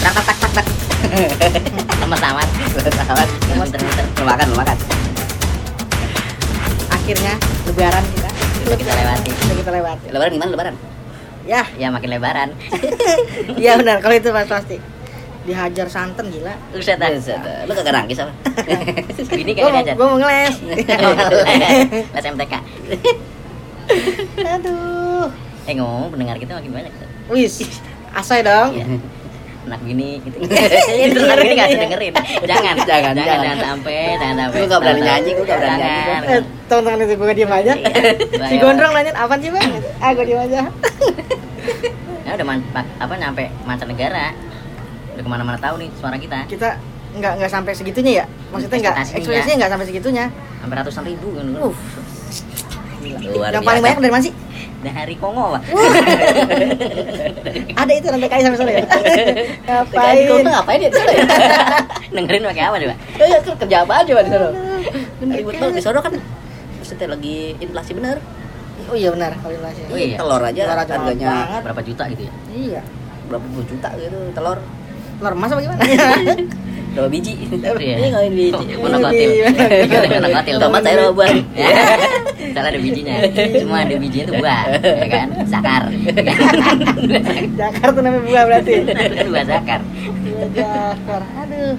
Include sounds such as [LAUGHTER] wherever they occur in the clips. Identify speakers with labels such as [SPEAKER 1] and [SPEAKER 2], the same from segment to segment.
[SPEAKER 1] tak tak tak tak [LAUGHS] tak. Lemes amat, lemes amat.
[SPEAKER 2] Lemes.
[SPEAKER 1] Bentar, bentar. Lu makan, lu makan.
[SPEAKER 2] akhirnya lebaran kita
[SPEAKER 1] Udah kita lewati.
[SPEAKER 2] sudah kita lewati
[SPEAKER 1] Lebaran gimana lebaran?
[SPEAKER 2] ya
[SPEAKER 1] Ya makin lebaran.
[SPEAKER 2] ya benar kalau itu pasti dihajar santan gila
[SPEAKER 1] Buset dah. Lu kagak nangis apa? [LAUGHS] Ini
[SPEAKER 2] gue
[SPEAKER 1] kagak diajar.
[SPEAKER 2] mau,
[SPEAKER 1] [LAUGHS]
[SPEAKER 2] gua mau ngeles
[SPEAKER 1] Les MTK.
[SPEAKER 2] aduh
[SPEAKER 1] Eh ngomong pendengar kita makin banyak. Sat.
[SPEAKER 2] wis asai dong
[SPEAKER 1] Iya. Anak gini [LAUGHS] gitu. Ini dengerin enggak dengerin. iya. Jangan,
[SPEAKER 3] Jangan,
[SPEAKER 1] jangan,
[SPEAKER 3] jangan.
[SPEAKER 1] jangan sampai, jangan sampai.
[SPEAKER 3] Gua nggak berani
[SPEAKER 1] Jangan,
[SPEAKER 3] nyanyi, gua nggak berani nyanyi.
[SPEAKER 1] jangan.
[SPEAKER 2] Eh, teman-teman itu gue diem aja
[SPEAKER 1] Iya.
[SPEAKER 2] si gondrong nanya apa sih bang ah gue diem aja
[SPEAKER 1] Ya udah man, pa- apa nyampe mancanegara. Udah kemana-mana tahu nih suara kita.
[SPEAKER 2] kita nggak nggak sampai segitunya ya maksudnya nggak
[SPEAKER 1] Ekspektasinya.
[SPEAKER 2] ekspektasinya nggak sampai segitunya
[SPEAKER 1] Hampir ratusan ribu kan.
[SPEAKER 2] Uff.
[SPEAKER 1] Luar
[SPEAKER 2] yang paling
[SPEAKER 1] biasa.
[SPEAKER 2] banyak dari mana sih
[SPEAKER 1] dari Kongo, Pak.
[SPEAKER 2] ada itu nanti kayak sampai sore ya
[SPEAKER 3] Kayak di
[SPEAKER 2] ngapain
[SPEAKER 3] kota ngapain ya?
[SPEAKER 1] [LAUGHS] Dengerin pakai apa coba?
[SPEAKER 3] Ya, kerja apa aja di sana?
[SPEAKER 1] Ribut banget di sono kan maksudnya lagi inflasi bener.
[SPEAKER 2] oh iya benar kalau inflasi
[SPEAKER 1] Oh iya.
[SPEAKER 3] Telur aja
[SPEAKER 2] Telur aja
[SPEAKER 3] harganya
[SPEAKER 2] mahal banget.
[SPEAKER 1] Berapa juta gitu ya?
[SPEAKER 2] iya
[SPEAKER 3] berapa puluh juta gitu telur.
[SPEAKER 2] telur emas apa gimana [LAUGHS]
[SPEAKER 1] Dua biji. Iya.
[SPEAKER 3] Ini ngawin biji.
[SPEAKER 1] Mana kotil. [LAUGHS] Mana kotil. Tomat saya dua buah. Ya. Salah ada bijinya. Cuma ada bijinya itu buah, ya kan? Zakar.
[SPEAKER 2] Jakarta namanya buah berarti
[SPEAKER 1] Dua zakar.
[SPEAKER 2] Iya, Jakar aduh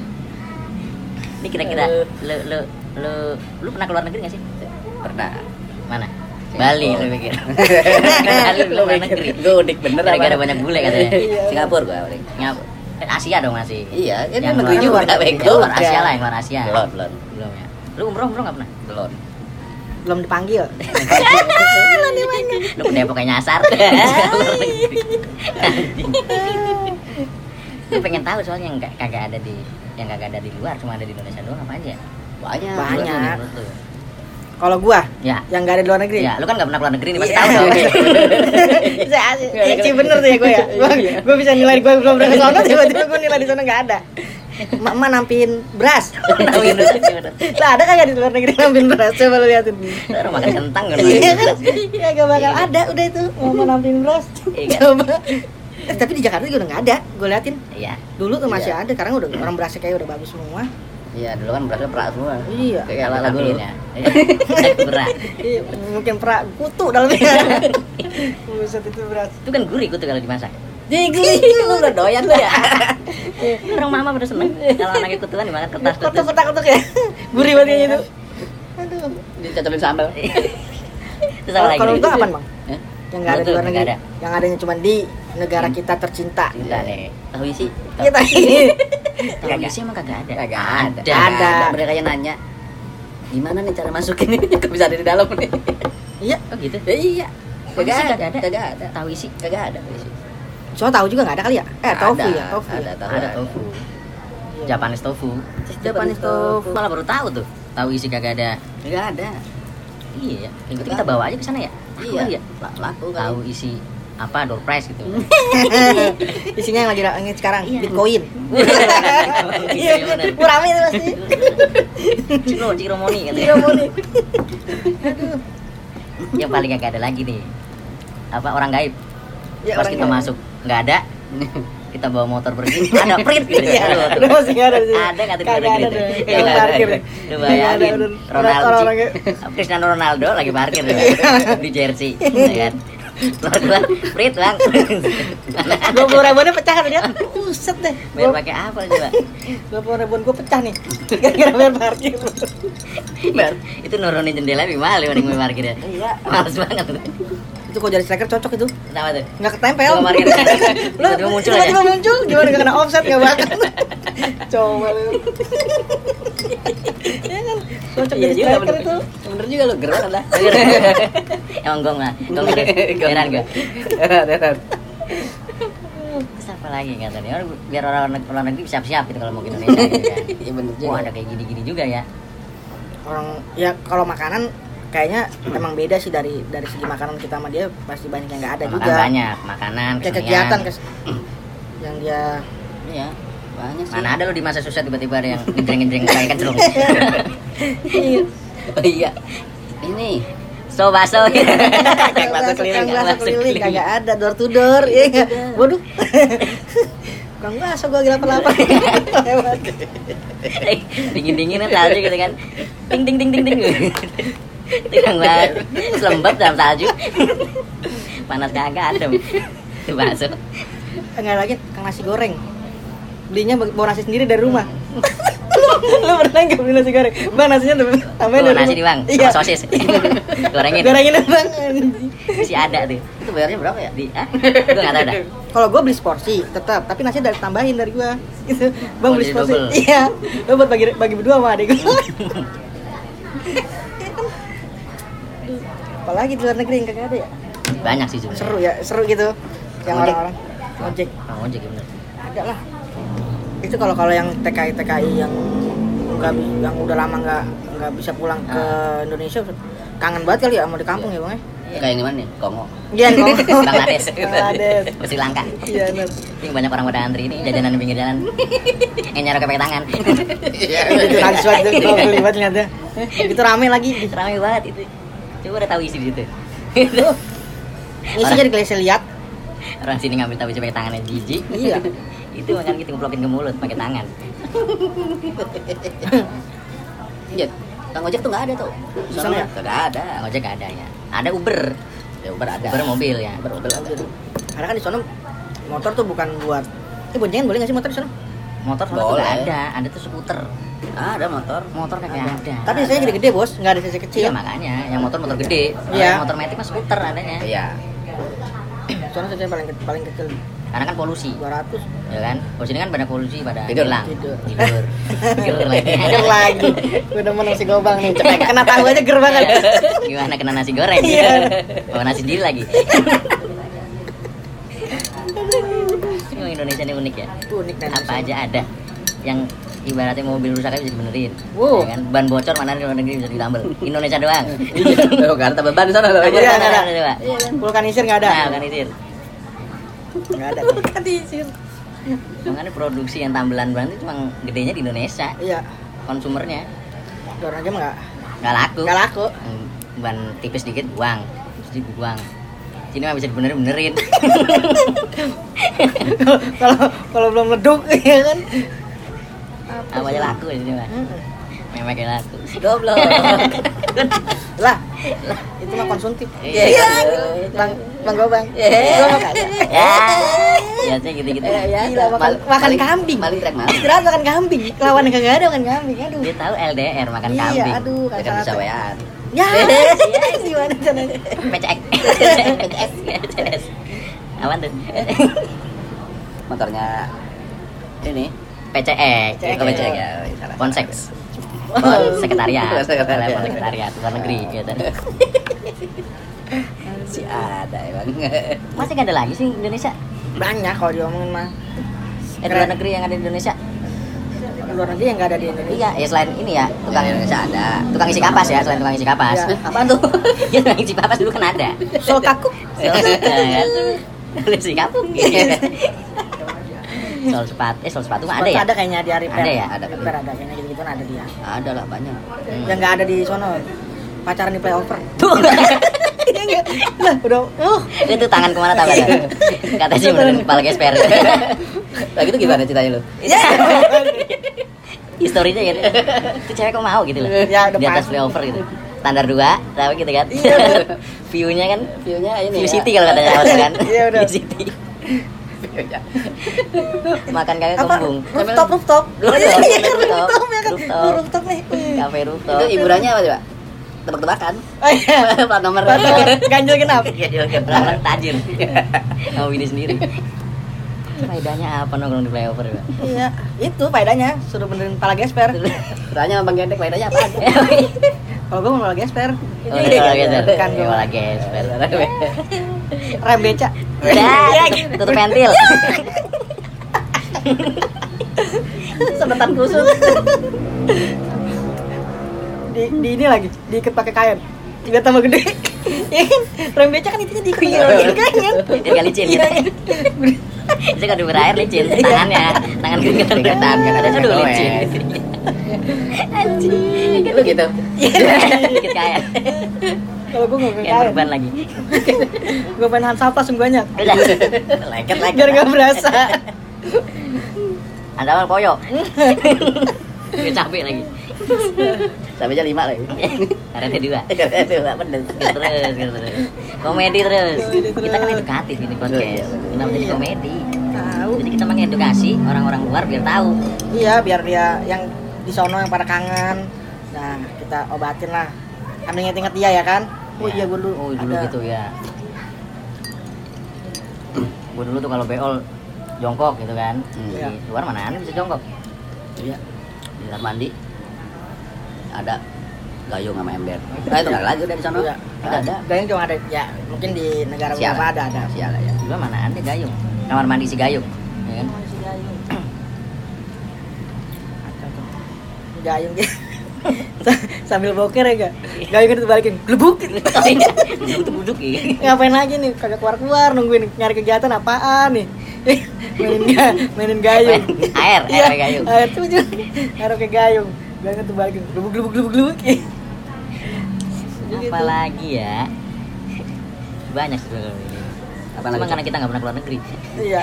[SPEAKER 1] Ini kira-kira lu lu lu lu pernah keluar negeri nggak sih?
[SPEAKER 3] Pernah.
[SPEAKER 1] Mana? Bali lu pikir. Kan Bali lu
[SPEAKER 3] [LAUGHS] Lu Iya, kan?
[SPEAKER 1] luar
[SPEAKER 3] mikir,
[SPEAKER 1] negeri.
[SPEAKER 3] Gue udik bener
[SPEAKER 1] Gara-gara
[SPEAKER 3] apa?
[SPEAKER 1] banyak bule katanya.
[SPEAKER 2] Iya.
[SPEAKER 3] Singapura gue paling.
[SPEAKER 1] Ngap eh, Asia dong masih.
[SPEAKER 3] Iya, ini
[SPEAKER 1] Yang
[SPEAKER 3] negeri
[SPEAKER 1] luar-
[SPEAKER 3] juga
[SPEAKER 1] luar-
[SPEAKER 3] bego.
[SPEAKER 1] Luar Asia lah, yang luar Asia.
[SPEAKER 3] Belum, belum,
[SPEAKER 1] Belum ya. Lu umroh umroh nggak pernah?
[SPEAKER 3] belum.
[SPEAKER 2] belum dipanggil
[SPEAKER 1] Lu ke Depok kayak nyasar.
[SPEAKER 3] [LAUGHS] Iya.
[SPEAKER 1] Lu pengen tahu soalnya yang nggak- kagak ada di yang kagak ada di luar cuma ada di Indonesia doang apa aja?
[SPEAKER 3] Banyak.
[SPEAKER 2] Banyak.
[SPEAKER 1] Lu- lu- lu- lu.
[SPEAKER 2] kalau gua
[SPEAKER 1] Ya.
[SPEAKER 2] yang gak ada di luar negeri
[SPEAKER 1] Ya, lu kan nggak pernah keluar negeri nih, pasti
[SPEAKER 2] Iya.
[SPEAKER 1] tahu dong.
[SPEAKER 3] [LAUGHS]
[SPEAKER 2] [LAUGHS] Saya asli- sih bener tuh ya gue [LAUGHS] ya gue gue bisa nilai gue belum berangkat [LAUGHS] sana tiba-tiba gue nilai di sana nggak ada emak nampiin [LAUGHS] beras
[SPEAKER 1] Tahu Indonesia.
[SPEAKER 2] lah ada kagak di luar negeri nampiin beras coba lu liatin
[SPEAKER 1] Lu makan kentang kan.
[SPEAKER 2] iya kan iya gak bakal ada udah itu mama nampiin beras [LAUGHS]
[SPEAKER 1] Iya.
[SPEAKER 2] coba Eh, tapi di Jakarta juga udah nggak ada gue liatin
[SPEAKER 1] Iya.
[SPEAKER 2] dulu tuh masih
[SPEAKER 3] Iya.
[SPEAKER 2] ada sekarang udah orang berasnya kayak udah bagus semua
[SPEAKER 3] Iya, dulu kan berasnya perak semua.
[SPEAKER 2] Iya.
[SPEAKER 3] Kayak lagu lu.
[SPEAKER 1] ya. Iya. Berat.
[SPEAKER 2] Iya, mungkin pra kutu dalamnya
[SPEAKER 1] [LAUGHS]
[SPEAKER 2] buset itu beras
[SPEAKER 1] Itu kan gurih gitu kalau dimasak. [LAUGHS] Iya,
[SPEAKER 3] Jadi lu udah doyan lu ya.
[SPEAKER 1] Orang mama pada seneng kalau anaknya kutuan dimakan kertas
[SPEAKER 2] kotak
[SPEAKER 1] kutus.
[SPEAKER 2] kotak kotak
[SPEAKER 1] [LAUGHS]
[SPEAKER 2] ya gurih banget kayaknya itu aduh
[SPEAKER 3] Dicocobin sambal.
[SPEAKER 1] Iya. Terus apa
[SPEAKER 2] kalau
[SPEAKER 1] lagi?
[SPEAKER 2] kalau itu apa bang
[SPEAKER 3] Eh,
[SPEAKER 2] yang nggak ada di
[SPEAKER 1] Betul,
[SPEAKER 2] luar negeri
[SPEAKER 1] nggak ada.
[SPEAKER 2] yang adanya cuma di negara kita tercinta Iya,
[SPEAKER 1] Cinta
[SPEAKER 3] Iya.
[SPEAKER 1] nih. Tahu isi? Tahu- [LAUGHS]
[SPEAKER 2] kita
[SPEAKER 1] Tahu isi emang kagak ada.
[SPEAKER 3] Kagak ada.
[SPEAKER 1] Ada.
[SPEAKER 2] Ada.
[SPEAKER 3] Mereka yang nanya, gimana nih cara masukin ini? Kok bisa ada di dalam nih?
[SPEAKER 2] iya
[SPEAKER 1] Oh gitu.
[SPEAKER 3] Ya, iya.
[SPEAKER 1] Kok bisa
[SPEAKER 3] Kagak
[SPEAKER 1] kagak ada?
[SPEAKER 3] ada. Kagak ada.
[SPEAKER 1] Tahu isi?
[SPEAKER 3] Kagak ada. Isi.
[SPEAKER 2] soal tahu juga nggak ada kali ya eh tofu
[SPEAKER 3] Ada,
[SPEAKER 2] ya tofu
[SPEAKER 3] ada,
[SPEAKER 2] ya.
[SPEAKER 3] tahu
[SPEAKER 1] Ada tofu.
[SPEAKER 2] Iya.
[SPEAKER 1] Japanese tofu.
[SPEAKER 2] Japanese tofu.
[SPEAKER 1] Malah baru tahu tuh. Tahu isi kagak ada.
[SPEAKER 3] Kagak ada.
[SPEAKER 1] Iya. ya. Itu kita bawa aja ke sana ya. Laku kali
[SPEAKER 3] Iya.
[SPEAKER 1] ya?
[SPEAKER 3] La- Laku
[SPEAKER 1] Tahu
[SPEAKER 3] kali.
[SPEAKER 1] isi apa door prize gitu.
[SPEAKER 2] [LAUGHS] Hmm.
[SPEAKER 1] [LAUGHS]
[SPEAKER 2] isinya yang lagi yang sekarang
[SPEAKER 1] [LAUGHS] Iya. Iya.
[SPEAKER 2] bitcoin iya
[SPEAKER 1] bener.
[SPEAKER 2] kurang itu pasti
[SPEAKER 1] Ciro, Ciro Moni katanya.
[SPEAKER 2] Iya,
[SPEAKER 1] [LAUGHS]
[SPEAKER 2] Moni.
[SPEAKER 1] yang Ya paling gak ada lagi nih apa orang gaib
[SPEAKER 2] Iya,
[SPEAKER 1] pas
[SPEAKER 2] orang
[SPEAKER 1] kita
[SPEAKER 2] gaib.
[SPEAKER 1] masuk nggak ada [LAUGHS] kita bawa motor pergi [LAUGHS] ada print gitu
[SPEAKER 2] Iya, lu
[SPEAKER 1] Aduh.
[SPEAKER 2] masih nggak ada di sini.
[SPEAKER 1] ada nggak tuh di
[SPEAKER 2] Kagak
[SPEAKER 1] luar
[SPEAKER 2] ada
[SPEAKER 1] negeri
[SPEAKER 2] deh.
[SPEAKER 1] tuh?
[SPEAKER 2] Yang
[SPEAKER 1] Nggak ada.
[SPEAKER 2] parkir deh.
[SPEAKER 1] Lu bayangin
[SPEAKER 2] Nggak ada, bener.
[SPEAKER 1] Ronaldo
[SPEAKER 2] Orang-orang kayak-
[SPEAKER 1] Cristiano Ronaldo lagi parkir
[SPEAKER 2] [LAUGHS]
[SPEAKER 1] ya. di jersey ya kan keluar print bang
[SPEAKER 2] [LAUGHS]
[SPEAKER 1] [LAUGHS]
[SPEAKER 2] dua puluh ribuannya pecah kan dia uset deh
[SPEAKER 1] bayar pakai apa coba
[SPEAKER 2] dua puluh ribuan gue pecah nih [LAUGHS] gara-gara bayar
[SPEAKER 1] [LAUGHS]
[SPEAKER 2] parkir
[SPEAKER 1] itu nurunin jendela lebih mahal dibanding main parkir ya
[SPEAKER 2] iya
[SPEAKER 1] males banget
[SPEAKER 2] itu kalau jadi striker cocok itu
[SPEAKER 1] kenapa tuh
[SPEAKER 2] nggak ketempel
[SPEAKER 1] Coba
[SPEAKER 2] [LAUGHS]
[SPEAKER 1] parkir. Tiba-tiba muncul aja.
[SPEAKER 2] tiba-tiba muncul gimana nggak kena offset nggak bakal coba lu ya kan cocok
[SPEAKER 3] Iya
[SPEAKER 2] jadi
[SPEAKER 3] juga
[SPEAKER 2] striker
[SPEAKER 3] bener.
[SPEAKER 2] itu
[SPEAKER 3] Bener juga lu gerak lah.
[SPEAKER 1] emang gong lah gong
[SPEAKER 2] [LAUGHS]
[SPEAKER 1] terus heran gue
[SPEAKER 3] Heran.
[SPEAKER 1] Terus apa lagi kata dia, orang- biar orang orang- orang negeri siap-siap gitu kalau mau ke Indonesia gitu
[SPEAKER 2] [LAUGHS]
[SPEAKER 1] kan.
[SPEAKER 3] [LAUGHS] Iya bener
[SPEAKER 1] Wah
[SPEAKER 3] juga.
[SPEAKER 1] ada kayak gini-gini juga ya.
[SPEAKER 2] orang ya kalau makanan kayaknya emang beda sih dari dari segi makanan kita sama dia pasti banyak yang nggak ada
[SPEAKER 1] Makan
[SPEAKER 2] juga
[SPEAKER 1] banyak, makanan,
[SPEAKER 2] kayak
[SPEAKER 1] kesenian.
[SPEAKER 2] kegiatan kes- yang dia
[SPEAKER 3] Iya. Banyak sih.
[SPEAKER 1] Mana ada lu di masa susah tiba-tiba ada
[SPEAKER 2] [LAUGHS]
[SPEAKER 1] yang kan, ngejreng-ngejreng kayak kecerung.
[SPEAKER 2] Iya.
[SPEAKER 1] [LAUGHS]
[SPEAKER 3] Oh iya. Ini.
[SPEAKER 1] So baso.
[SPEAKER 2] Iya.
[SPEAKER 1] [LAUGHS]
[SPEAKER 2] Kang
[SPEAKER 1] Kang
[SPEAKER 2] Baso keliling,
[SPEAKER 1] Baso
[SPEAKER 2] [LAUGHS] keliling, kagak ada door to door, iya nggak? Waduh, Kang bakso gua lagi lapar-lapar. Lewat.
[SPEAKER 1] [LAUGHS] dingin dinginan salju gitu kan ting ting ting ting
[SPEAKER 2] [LAUGHS]
[SPEAKER 1] ting Tinggang banget selembab dalam salju panas kagak adem itu bakso
[SPEAKER 2] Enggak lagi Kang nasi goreng. Belinya bawa nasi sendiri dari rumah. [LAUGHS] Lu pernah nggak beli nasi goreng? Bang nasinya tuh [LAUGHS] tambahin
[SPEAKER 1] Bawa
[SPEAKER 2] dari
[SPEAKER 1] nasi
[SPEAKER 2] rumah.
[SPEAKER 1] nih bang
[SPEAKER 2] [LAUGHS] Iya.
[SPEAKER 1] sama sosis gorengin
[SPEAKER 2] Gorengin bang.
[SPEAKER 1] si ada tuh itu bayarnya berapa ya di ah gue nggak tahu dah
[SPEAKER 2] Kalau gua beli seporsi tetap, tapi nasi dari tambahin dari gua. [LAUGHS] Gitu.
[SPEAKER 1] Oh,
[SPEAKER 2] Bang beli
[SPEAKER 1] jadi
[SPEAKER 2] seporsi.
[SPEAKER 1] double.
[SPEAKER 2] [LAUGHS] Iya. Lu buat bagi bagi berdua sama adik
[SPEAKER 1] [LAUGHS]
[SPEAKER 2] gua. Apalagi di luar negeri yang kagak ada ya?
[SPEAKER 1] banyak sih
[SPEAKER 2] Seru
[SPEAKER 1] sebenarnya
[SPEAKER 2] ya, seru gitu. Yang
[SPEAKER 1] Ojek.
[SPEAKER 2] orang-orang ojek
[SPEAKER 1] bang ojek ya bener
[SPEAKER 2] ada lah itu kalau kalau yang TKI TKI yang nggak bi- yang udah lama nggak nggak bisa pulang ke Indonesia kangen banget kali ya sama di kampung ya bang ya
[SPEAKER 1] kayak yang mana nih Kongo
[SPEAKER 2] iya [LAUGHS] no.
[SPEAKER 1] Bangladesh
[SPEAKER 2] Bangladesh
[SPEAKER 1] Sri Lanka
[SPEAKER 2] iya no.
[SPEAKER 1] ini banyak orang pada antri ini jajanan di pinggir jalan yang nyarok pakai tangan
[SPEAKER 2] itu Iya, transfer itu kalau beli banget ternyata itu rame lagi
[SPEAKER 1] ramai banget itu coba udah tahu isi di
[SPEAKER 3] [LAUGHS]
[SPEAKER 1] situ
[SPEAKER 2] isinya di kelas lihat
[SPEAKER 1] orang sini ngambil tahu pakai tangannya jijik
[SPEAKER 2] Iya.
[SPEAKER 1] [LAUGHS] itu makan kita ngeplokin ke mulut pakai tangan
[SPEAKER 3] [LAUGHS] Iya. Kang ojek tuh nggak ada tuh.
[SPEAKER 2] Soalnya?
[SPEAKER 3] Soalnya nggak ada.
[SPEAKER 1] Nah, ojek gak ada ya ada Uber
[SPEAKER 3] Ya Uber ada.
[SPEAKER 1] Uber mobil ya
[SPEAKER 3] Uber mobil ada.
[SPEAKER 2] karena kan di sana motor tuh bukan buat eh boncengan boleh nggak sih motor di sana
[SPEAKER 1] motor soalnya tuh
[SPEAKER 3] Boleh.
[SPEAKER 1] nggak ada ada tuh skuter
[SPEAKER 3] Ada motor.
[SPEAKER 1] motor kagak ada
[SPEAKER 2] tapi saya gede-gede bos nggak ada cc
[SPEAKER 3] ya.
[SPEAKER 1] Iya
[SPEAKER 2] kecil
[SPEAKER 1] makanya, yang motor motor gede, Kalau
[SPEAKER 2] Iya.
[SPEAKER 1] yang motor metik mah skuter adanya.
[SPEAKER 3] Iya.
[SPEAKER 2] soalnya cc paling ke- paling kecil
[SPEAKER 1] Karena kan polusi,
[SPEAKER 2] 200
[SPEAKER 1] ya kan? Kalau sini kan pada polusi pada
[SPEAKER 3] Tidur.
[SPEAKER 1] hilang,
[SPEAKER 2] Tidur.
[SPEAKER 1] tidur, tidur lagi.
[SPEAKER 2] Ger
[SPEAKER 1] [LAUGHS]
[SPEAKER 2] lagi. Gue demen nasi gobang nih. Cepet kena tahu aja ger [LAUGHS] banget.
[SPEAKER 1] Ya. Iya. Gimana kena nasi goreng?
[SPEAKER 2] Iya.
[SPEAKER 1] Bawa nasi sendiri lagi. Emang Indonesia ini unik ya.
[SPEAKER 2] Itu unik dan
[SPEAKER 1] Apa aja ada. Yang ibaratnya mobil rusak aja bisa dibenerin.
[SPEAKER 2] Wow.
[SPEAKER 1] Ya kan? Ban bocor mana di luar negeri bisa ditambal. Indonesia doang.
[SPEAKER 3] Tuh kan tambah ban di sana
[SPEAKER 1] Tambal
[SPEAKER 2] Iya,
[SPEAKER 3] lagi.
[SPEAKER 1] ban
[SPEAKER 2] ada.
[SPEAKER 1] mana coba?
[SPEAKER 2] Vulkanisir enggak ada.
[SPEAKER 1] Nah, kan itu.
[SPEAKER 2] Enggak ada. Vulkanisir.
[SPEAKER 1] Makanya kan produksi yang tambelan ban itu cuma gedenya di Indonesia.
[SPEAKER 2] Iya.
[SPEAKER 1] konsumernya
[SPEAKER 2] Luar aja enggak.
[SPEAKER 1] nggak laku
[SPEAKER 2] Enggak laku.
[SPEAKER 1] Hmm, ban tipis dikit buang terus dibuang sini mah bisa dibenerin benerin
[SPEAKER 2] Kalau kalau belum leduk [LAUGHS] ya kan.
[SPEAKER 1] apa aja laku ya, di sini mah
[SPEAKER 2] Mm-mm.
[SPEAKER 1] memangnya laku
[SPEAKER 3] Goblok.
[SPEAKER 2] Lah, itu mah konsumtif.
[SPEAKER 1] Iya.
[SPEAKER 2] Bang, bang gobang.
[SPEAKER 3] Iya.
[SPEAKER 2] Gua makan.
[SPEAKER 1] ya biasanya gitu gitu
[SPEAKER 3] Iya, iya.
[SPEAKER 2] Gila, makan,
[SPEAKER 3] Mal-
[SPEAKER 2] makan
[SPEAKER 3] maling-
[SPEAKER 2] kambing.
[SPEAKER 3] maling trek maling.
[SPEAKER 2] Istirahat makan kambing. Lawan yang kagak ada makan kambing.
[SPEAKER 1] [LAUGHS]
[SPEAKER 2] Aduh.
[SPEAKER 1] dia tahu LDR makan
[SPEAKER 2] Iya,
[SPEAKER 1] kambing
[SPEAKER 2] aduh,
[SPEAKER 1] Dia
[SPEAKER 2] kacau.
[SPEAKER 1] kan bisa bayar
[SPEAKER 2] Ya,
[SPEAKER 1] Iya,
[SPEAKER 2] gimana caranya?
[SPEAKER 1] PCX PCX PCX awan tuh
[SPEAKER 3] Motornya ini.
[SPEAKER 1] PCX
[SPEAKER 2] PCX.
[SPEAKER 1] Bukan PCX ya
[SPEAKER 3] Ya, salah.
[SPEAKER 1] Ponseks
[SPEAKER 2] Oh.
[SPEAKER 1] Sekretariat
[SPEAKER 3] Sekretariat.
[SPEAKER 1] Telepon Sekretariat Luar negeri gitu
[SPEAKER 3] Si ada emang.
[SPEAKER 1] Masih nggak ada lagi sih Indonesia
[SPEAKER 2] Banyak kalau diomongin mah.
[SPEAKER 1] Eh luar negeri yang ada di Indonesia
[SPEAKER 2] luar negeri yang nggak ada di Indonesia.
[SPEAKER 1] Iya, ya selain ini ya, tukang
[SPEAKER 3] Di Indonesia ada.
[SPEAKER 1] tukang isi kapas ya, selain tukang isi kapas.
[SPEAKER 2] Iya.
[SPEAKER 1] Apaan tuh? [LAUGHS] ya tukang isi kapas dulu kan ada.
[SPEAKER 2] Soal Iya. kaku. [LAUGHS] ya?
[SPEAKER 1] kan? Soal isi kampung.
[SPEAKER 2] Iya.
[SPEAKER 1] soal sepatu, eh soal sepatu mah ada ya?
[SPEAKER 2] Ada kayaknya di Arif.
[SPEAKER 1] Ada ya?
[SPEAKER 2] Ada. Repair ada kayaknya gitu-gitu ada dia.
[SPEAKER 3] Ada lah banyak.
[SPEAKER 1] Hmm.
[SPEAKER 2] Yang nggak ada di sono pacaran di playover.
[SPEAKER 1] Tuh.
[SPEAKER 2] [LAUGHS]
[SPEAKER 1] [LAUGHS]
[SPEAKER 2] Iya nggak? Lah udah. [LAUGHS] Uh.
[SPEAKER 1] Itu tangan kemana tahu
[SPEAKER 2] Iya.
[SPEAKER 1] kan? Kata sih benerin kepala
[SPEAKER 2] [LAUGHS]
[SPEAKER 1] gesper.
[SPEAKER 3] Lagi itu gimana ceritanya lu?
[SPEAKER 2] Ya.
[SPEAKER 1] Historinya gitu. Itu cewek kok mau gitu loh.
[SPEAKER 2] Ya, udah
[SPEAKER 1] Di atas
[SPEAKER 2] pasti.
[SPEAKER 1] flyover gitu. Standar dua, tahu gitu kan?
[SPEAKER 2] Iya.
[SPEAKER 1] [LAUGHS] View-nya kan
[SPEAKER 3] View-nya ini.
[SPEAKER 1] View
[SPEAKER 3] ya.
[SPEAKER 1] City kalau katanya awal kan.
[SPEAKER 2] [LAUGHS] Iya, udah.
[SPEAKER 1] View City.
[SPEAKER 3] View-nya.
[SPEAKER 1] Makan kagak
[SPEAKER 2] Apa?
[SPEAKER 1] kembung.
[SPEAKER 2] Rooftop Iya, rooftop.
[SPEAKER 1] Rooftop,
[SPEAKER 2] Iya kan
[SPEAKER 1] rooftop,
[SPEAKER 2] rooftop ya kan.
[SPEAKER 1] rooftop.
[SPEAKER 2] Oh, Rooftop nih. Hmm.
[SPEAKER 1] Kafe rooftop.
[SPEAKER 3] Itu hiburannya apa coba?
[SPEAKER 1] [LAUGHS]
[SPEAKER 3] Tebak-tebakan.
[SPEAKER 2] Oh [LAUGHS] iya.
[SPEAKER 3] Plat nomor.
[SPEAKER 2] Batal. Ganjil genap.
[SPEAKER 1] Orang Iya, tajir. Sama bini sendiri. Faedahnya apa nongkrong di flyover ya?
[SPEAKER 2] Iya. Itu faedahnya suruh benerin kepala gesper.
[SPEAKER 3] Tanya sama Bang Gendek faedahnya [LAUGHS] apa?
[SPEAKER 2] Kalau gue mau kepala gesper.
[SPEAKER 1] Oh, udah kalau geser.
[SPEAKER 2] Kan
[SPEAKER 1] Ya,
[SPEAKER 2] gue.
[SPEAKER 1] malah geser.
[SPEAKER 2] Rem beca. Iya.
[SPEAKER 3] Iya,
[SPEAKER 1] Udah,
[SPEAKER 3] gitu.
[SPEAKER 1] tutup pentil.
[SPEAKER 3] Sebetan kusut.
[SPEAKER 2] di, di ini lagi diikat pakai kain tidak tambah gede [LAUGHS] ya kan rem beca kan intinya diikat pakai kain kan
[SPEAKER 1] Biar gak licin.
[SPEAKER 2] Iya,
[SPEAKER 1] [LAUGHS] gitu. Itu kalau berair licin tangannya, tangan kan keringetan
[SPEAKER 3] Keringetan, karena ada
[SPEAKER 1] Aduh
[SPEAKER 3] keringat
[SPEAKER 1] licin.
[SPEAKER 3] doang.
[SPEAKER 1] Anjing.
[SPEAKER 3] Lu gitu.
[SPEAKER 1] Dikit kayak
[SPEAKER 2] kalau gue nggak pakai
[SPEAKER 1] kayak
[SPEAKER 2] kain
[SPEAKER 1] berban lagi. Iya.
[SPEAKER 2] gue main hansa langsung banyak
[SPEAKER 1] Leket leket.
[SPEAKER 2] biar nggak berasa
[SPEAKER 1] Anda mah [LAUGHS] koyo. Gue capek lagi.
[SPEAKER 3] Sampainya lima lagi.
[SPEAKER 1] Karena dua.
[SPEAKER 3] Itu nggak bener.
[SPEAKER 1] Gitu terus, gitu terus. Komedi terus. Kita kan edukatif ini podcast. Kenapa jadi
[SPEAKER 2] Iya.
[SPEAKER 1] komedi?
[SPEAKER 2] tahu
[SPEAKER 1] Jadi kita mengedukasi orang-orang luar biar tahu.
[SPEAKER 2] iya biar dia yang di sono yang pada kangen nah kita obatin lah kan inget-inget dia ya kan oh iya gue dulu
[SPEAKER 1] Oh, dulu
[SPEAKER 2] ada-
[SPEAKER 1] gitu ya. Gue dulu tuh kalau beol jongkok gitu kan.
[SPEAKER 3] Hmm.
[SPEAKER 1] Di luar mana aneh bisa jongkok.
[SPEAKER 3] Iya. Di kamar mandi ada gayung sama ember. Nah itu nggak lagi udah di sana.
[SPEAKER 2] Iya.
[SPEAKER 3] Nggak ada.
[SPEAKER 2] Gayung cuma ada ya mungkin di negara
[SPEAKER 3] Siapa?
[SPEAKER 2] beberapa ada ada
[SPEAKER 3] Sial ya.
[SPEAKER 1] Di luar mana aneh gayung. Kamar mandi si gayung. Ya
[SPEAKER 2] [LAUGHS]
[SPEAKER 1] kan?
[SPEAKER 2] gayung gitu [LAUGHS] sambil boker ya gak gayung itu balikin gelebuk
[SPEAKER 1] Oh iya, duduk-duduk ya.
[SPEAKER 2] ngapain lagi nih kagak keluar keluar nungguin nyari kegiatan apaan nih [LAUGHS] mainin ga- mainin gayung
[SPEAKER 1] Air, air
[SPEAKER 2] Iya,
[SPEAKER 1] gayung.
[SPEAKER 2] air tuh juga air ke gayung gayung itu balikin gelebuk gelebuk gelebuk gelebuk
[SPEAKER 1] Apa lagi ya? Banyak sebenarnya.
[SPEAKER 3] Apa
[SPEAKER 1] Cuma
[SPEAKER 3] lagi?
[SPEAKER 1] karena kita nggak pernah keluar negeri.
[SPEAKER 2] iya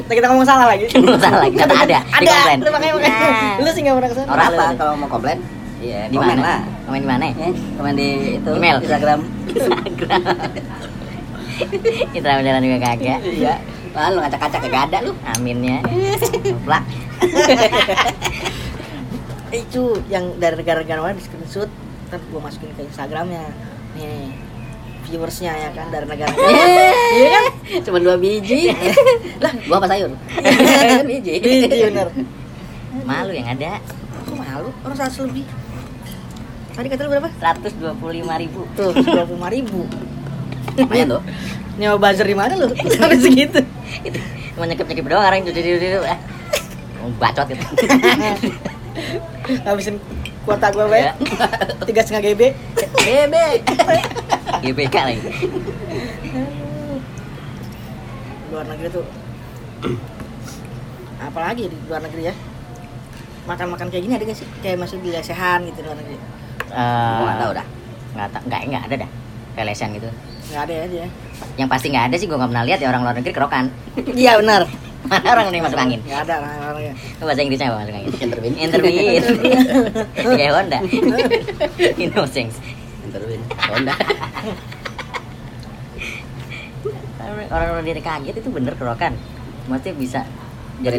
[SPEAKER 2] Nah, kita ngomong salah lagi
[SPEAKER 1] Salah lagi, kata ada, di
[SPEAKER 2] ada
[SPEAKER 1] komplain.
[SPEAKER 2] lu makanya makanya
[SPEAKER 1] Nah.
[SPEAKER 2] lu sih nggak pernah kesana
[SPEAKER 3] Orang
[SPEAKER 1] Apa
[SPEAKER 3] apa
[SPEAKER 1] lagi?
[SPEAKER 3] kalau mau komplain? Iya,
[SPEAKER 1] Di
[SPEAKER 3] komen lah.
[SPEAKER 1] mana? Komen di mana?
[SPEAKER 3] Ya, komen di itu
[SPEAKER 1] Email. [LAUGHS]
[SPEAKER 3] Instagram.
[SPEAKER 1] Instagram. Instagram jalan juga kagak.
[SPEAKER 3] Iya. Lah lu ngacak-ngacak kagak ada lu.
[SPEAKER 1] Aminnya. Plak.
[SPEAKER 2] Eh, itu yang dari negara-negara lain di screenshot ntar gue masukin ke Instagramnya nih viewersnya ya kan dari [LAUGHS] negara
[SPEAKER 3] Iya kan? Cuma dua
[SPEAKER 1] [LAUGHS]
[SPEAKER 3] biji. lah, gua apa sayur? Kan biji.
[SPEAKER 2] biji bener
[SPEAKER 1] Malu yang ada.
[SPEAKER 2] aku malu orang seratus lebih tadi kata lu berapa
[SPEAKER 1] 125 ribu.
[SPEAKER 2] tuh dua puluh ribu
[SPEAKER 3] Lumayan tuh.
[SPEAKER 2] nyawa buzzer di mana [LAUGHS] lu sampai segitu
[SPEAKER 1] Itu cuma nyekip-nyekip doang orang itu itu itu. eh. Mau Bacot
[SPEAKER 3] [LAUGHS]
[SPEAKER 1] gitu.
[SPEAKER 2] habisin kuota gue banyak [LAUGHS] tiga setengah GB
[SPEAKER 3] Bebek.
[SPEAKER 1] GBK lagi.
[SPEAKER 2] luar negeri tuh apalagi di luar negeri ya makan-makan kayak gini ada gak sih kayak masuk di lesehan gitu di luar negeri
[SPEAKER 1] Eh,
[SPEAKER 3] Gua nggak tahu dah.
[SPEAKER 1] Nggak tahu, nggak nggak ada dah. Kelesan gitu.
[SPEAKER 2] nggak ada ya dia
[SPEAKER 1] Yang pasti nggak ada sih gua nggak pernah lihat ya orang luar negeri kerokan.
[SPEAKER 2] iya benar
[SPEAKER 1] Mana orang yang masuk angin?
[SPEAKER 2] nggak ada orang-orangnya
[SPEAKER 1] Lu Bahasa Inggrisnya apa masuk angin?
[SPEAKER 3] Intervin.
[SPEAKER 1] Intermin. Kayak Honda. [LAUGHS] Innocence.
[SPEAKER 3] Intervin. Honda.
[SPEAKER 1] Orang-orang dari kaget itu bener kerokan. Maksudnya bisa
[SPEAKER 3] Jadi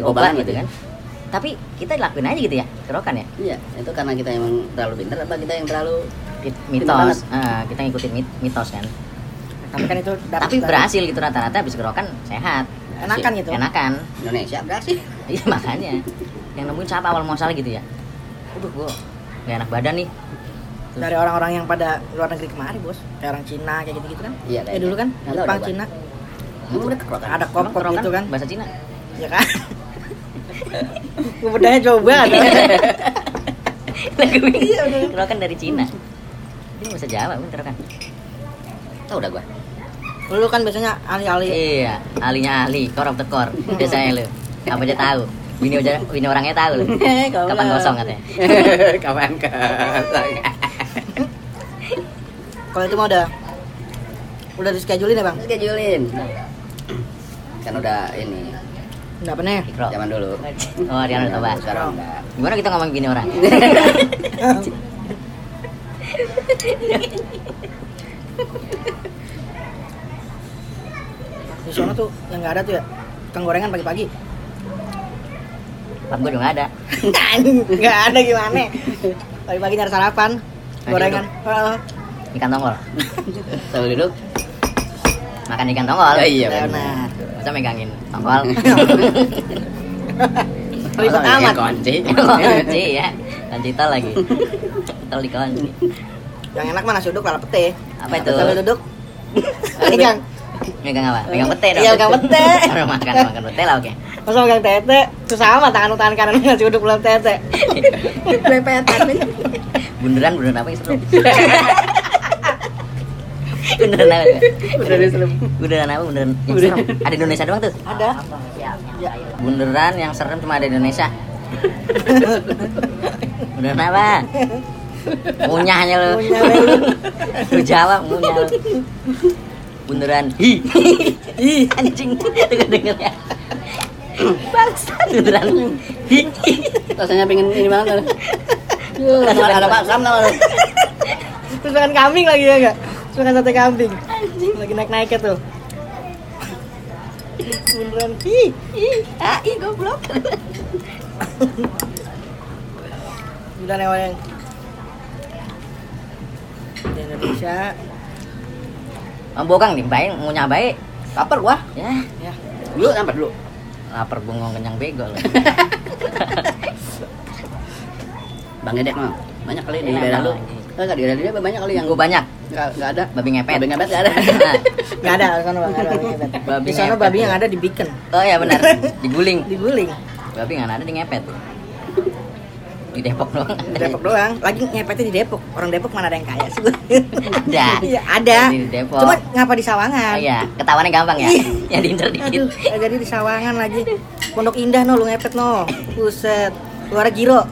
[SPEAKER 1] jadi
[SPEAKER 3] obat
[SPEAKER 1] obat gitu kan. Tapi kita lakuin aja gitu ya, kerokan ya.
[SPEAKER 3] Iya, itu karena kita emang terlalu pintar apa kita yang terlalu banget.
[SPEAKER 1] Mitos, Ah, kita ngikutin mit- mitos kan.
[SPEAKER 2] tapi kan itu dapat
[SPEAKER 1] Tapi
[SPEAKER 2] dari-
[SPEAKER 1] berhasil gitu rata-rata habis kerokan sehat.
[SPEAKER 2] enakan gitu
[SPEAKER 1] Enakan. [LAUGHS]
[SPEAKER 3] Indonesia berhasil.
[SPEAKER 1] Iya makanya. Yang nemuin siapa awal muasalnya gitu ya. Aduh gua gak enak badan nih.
[SPEAKER 2] dari orang-orang yang pada luar negeri kemari bos kayak orang Cina kayak gitu gitu kan
[SPEAKER 3] Iya,
[SPEAKER 2] ya dulu kan
[SPEAKER 3] Nggak tahu
[SPEAKER 2] Jepang
[SPEAKER 3] dah,
[SPEAKER 2] Cina
[SPEAKER 3] Gua. Udah kerokan.
[SPEAKER 2] ada
[SPEAKER 1] Emang
[SPEAKER 2] kompor gitu kan
[SPEAKER 1] bahasa Cina.
[SPEAKER 2] ya kan Kebudayaan jauh banget
[SPEAKER 1] Lagu ini
[SPEAKER 3] Iya,
[SPEAKER 1] kerokan dari Cina.
[SPEAKER 3] Hmm.
[SPEAKER 1] Ini bahasa Jawa bener kerokan.
[SPEAKER 3] Tahu udah gua.
[SPEAKER 2] Lu kan biasanya alih-alih
[SPEAKER 1] Iya, ahlinya ahli, core of the core. Biasanya lu. Apa aja tahu. Bini aja bini orangnya tahu
[SPEAKER 3] [LAUGHS]
[SPEAKER 1] lu. Kapan kosong katanya.
[SPEAKER 3] Kapan kosong?
[SPEAKER 2] kalau itu mah udah udah di schedulein ya bang
[SPEAKER 3] Terus kejulin. Kan udah ini
[SPEAKER 2] nggak pernah ya?
[SPEAKER 1] Ikro.
[SPEAKER 3] zaman dulu.
[SPEAKER 1] Eh, Oh, dia udah coba.
[SPEAKER 3] Iya, Sekarang enggak.
[SPEAKER 1] Gimana kita ngomong bini
[SPEAKER 3] [LAUGHS]
[SPEAKER 1] orang?
[SPEAKER 2] di sana tuh yang nggak ada tuh ya tukang gorengan pagi-pagi [LAUGHS]
[SPEAKER 1] Pak gua juga
[SPEAKER 3] [LAUGHS]
[SPEAKER 1] nggak ada.
[SPEAKER 2] nggak ada gimana pagi-pagi nyari sarapan
[SPEAKER 1] Nah,
[SPEAKER 2] gorengan Heeh.
[SPEAKER 1] Ikan
[SPEAKER 3] [LAUGHS]
[SPEAKER 1] tongkol.
[SPEAKER 3] Tahu duduk.
[SPEAKER 1] Makan ikan tongkol.
[SPEAKER 3] Oh, iya
[SPEAKER 2] Nah,
[SPEAKER 3] benar.
[SPEAKER 1] Masa megangin tongkol.
[SPEAKER 3] [LAUGHS]
[SPEAKER 2] Ribet
[SPEAKER 3] Masa bikin
[SPEAKER 2] amat. [LAUGHS]
[SPEAKER 3] Kunci.
[SPEAKER 1] Kunci ya. Kunci tol lagi. Tol dikunci.
[SPEAKER 2] yang enak mana nasi uduk lala pete
[SPEAKER 1] Apa itu?
[SPEAKER 2] sambil duduk
[SPEAKER 1] Duduk.
[SPEAKER 2] megang
[SPEAKER 1] Megang apa? Megang pete dong.
[SPEAKER 2] Iya, megang
[SPEAKER 1] [LAUGHS]
[SPEAKER 2] pete.
[SPEAKER 1] Orang makan makan pete lah oke.
[SPEAKER 2] masa megang tete terus sama tangan tangan kanan nasi uduk belum tete lepetan
[SPEAKER 1] Bunderan bunderan apa yang
[SPEAKER 2] [LAUGHS]
[SPEAKER 1] seru? bunderan apa?
[SPEAKER 3] Udah diselum.
[SPEAKER 1] Bunderan apa? Bunderan yang
[SPEAKER 3] Bunderan.
[SPEAKER 1] serem. Ada di Indonesia doang tuh.
[SPEAKER 2] ada Ya
[SPEAKER 1] Bunderan yang serem cuma ada di
[SPEAKER 2] [LAUGHS]
[SPEAKER 1] Indonesia. Bunderan apa? Munyahnya lu.
[SPEAKER 2] punya lu.
[SPEAKER 1] Lu jawab munyah lu. Bunderan. Hi. Hi anjing. Dengar dengar ya. Bangsat beneran.
[SPEAKER 3] Rasanya pengen ini banget. Yuh, ada ada Pak Sam tau.
[SPEAKER 2] terus makan kambing lagi ya enggak terus makan sate kambing lagi naik naiknya tuh beneran ih
[SPEAKER 1] Ih, ah, ih goblok.
[SPEAKER 2] Bulan hewan yang di Indonesia
[SPEAKER 1] Membokang nih, baik ngunyah baik.
[SPEAKER 3] Lapar gua.
[SPEAKER 1] Ya,
[SPEAKER 2] ya
[SPEAKER 3] Dulu sampai dulu.
[SPEAKER 1] lapar bengong kenyang bego lu.
[SPEAKER 3] Bang Gedek mah banyak kali di
[SPEAKER 1] Iya,
[SPEAKER 3] daerah lu.
[SPEAKER 1] Bang.
[SPEAKER 3] Enggak di daerah dia banyak kali yang
[SPEAKER 1] Yang gue banyak,
[SPEAKER 3] enggak enggak ada.
[SPEAKER 1] babi ngepet.
[SPEAKER 3] Babi ngepet nggak ada.
[SPEAKER 1] Nah,
[SPEAKER 2] nggak ada di sana bang nggak ada babi ngepet
[SPEAKER 1] Babi
[SPEAKER 2] di sana
[SPEAKER 1] ngepet.
[SPEAKER 2] babi yang ada di Biken
[SPEAKER 1] [LAUGHS] Oh ya benar, diguling.
[SPEAKER 2] di Guling
[SPEAKER 1] Babi nggak ada di ngepet. Di Depok doang.
[SPEAKER 2] di Depok doang lagi ngepetnya di Depok orang Depok mana ada yang kaya sih
[SPEAKER 1] Ada.
[SPEAKER 2] Iya, ada
[SPEAKER 1] Di Depok.
[SPEAKER 2] cuma ngapa di Sawangan
[SPEAKER 1] Oh iya, ketahuannya gampang ya. Ya diincer dikit.
[SPEAKER 2] Aduh, jadi di Sawangan lagi. Pondok Indah no lu ngepet no. Buset. Luar giro.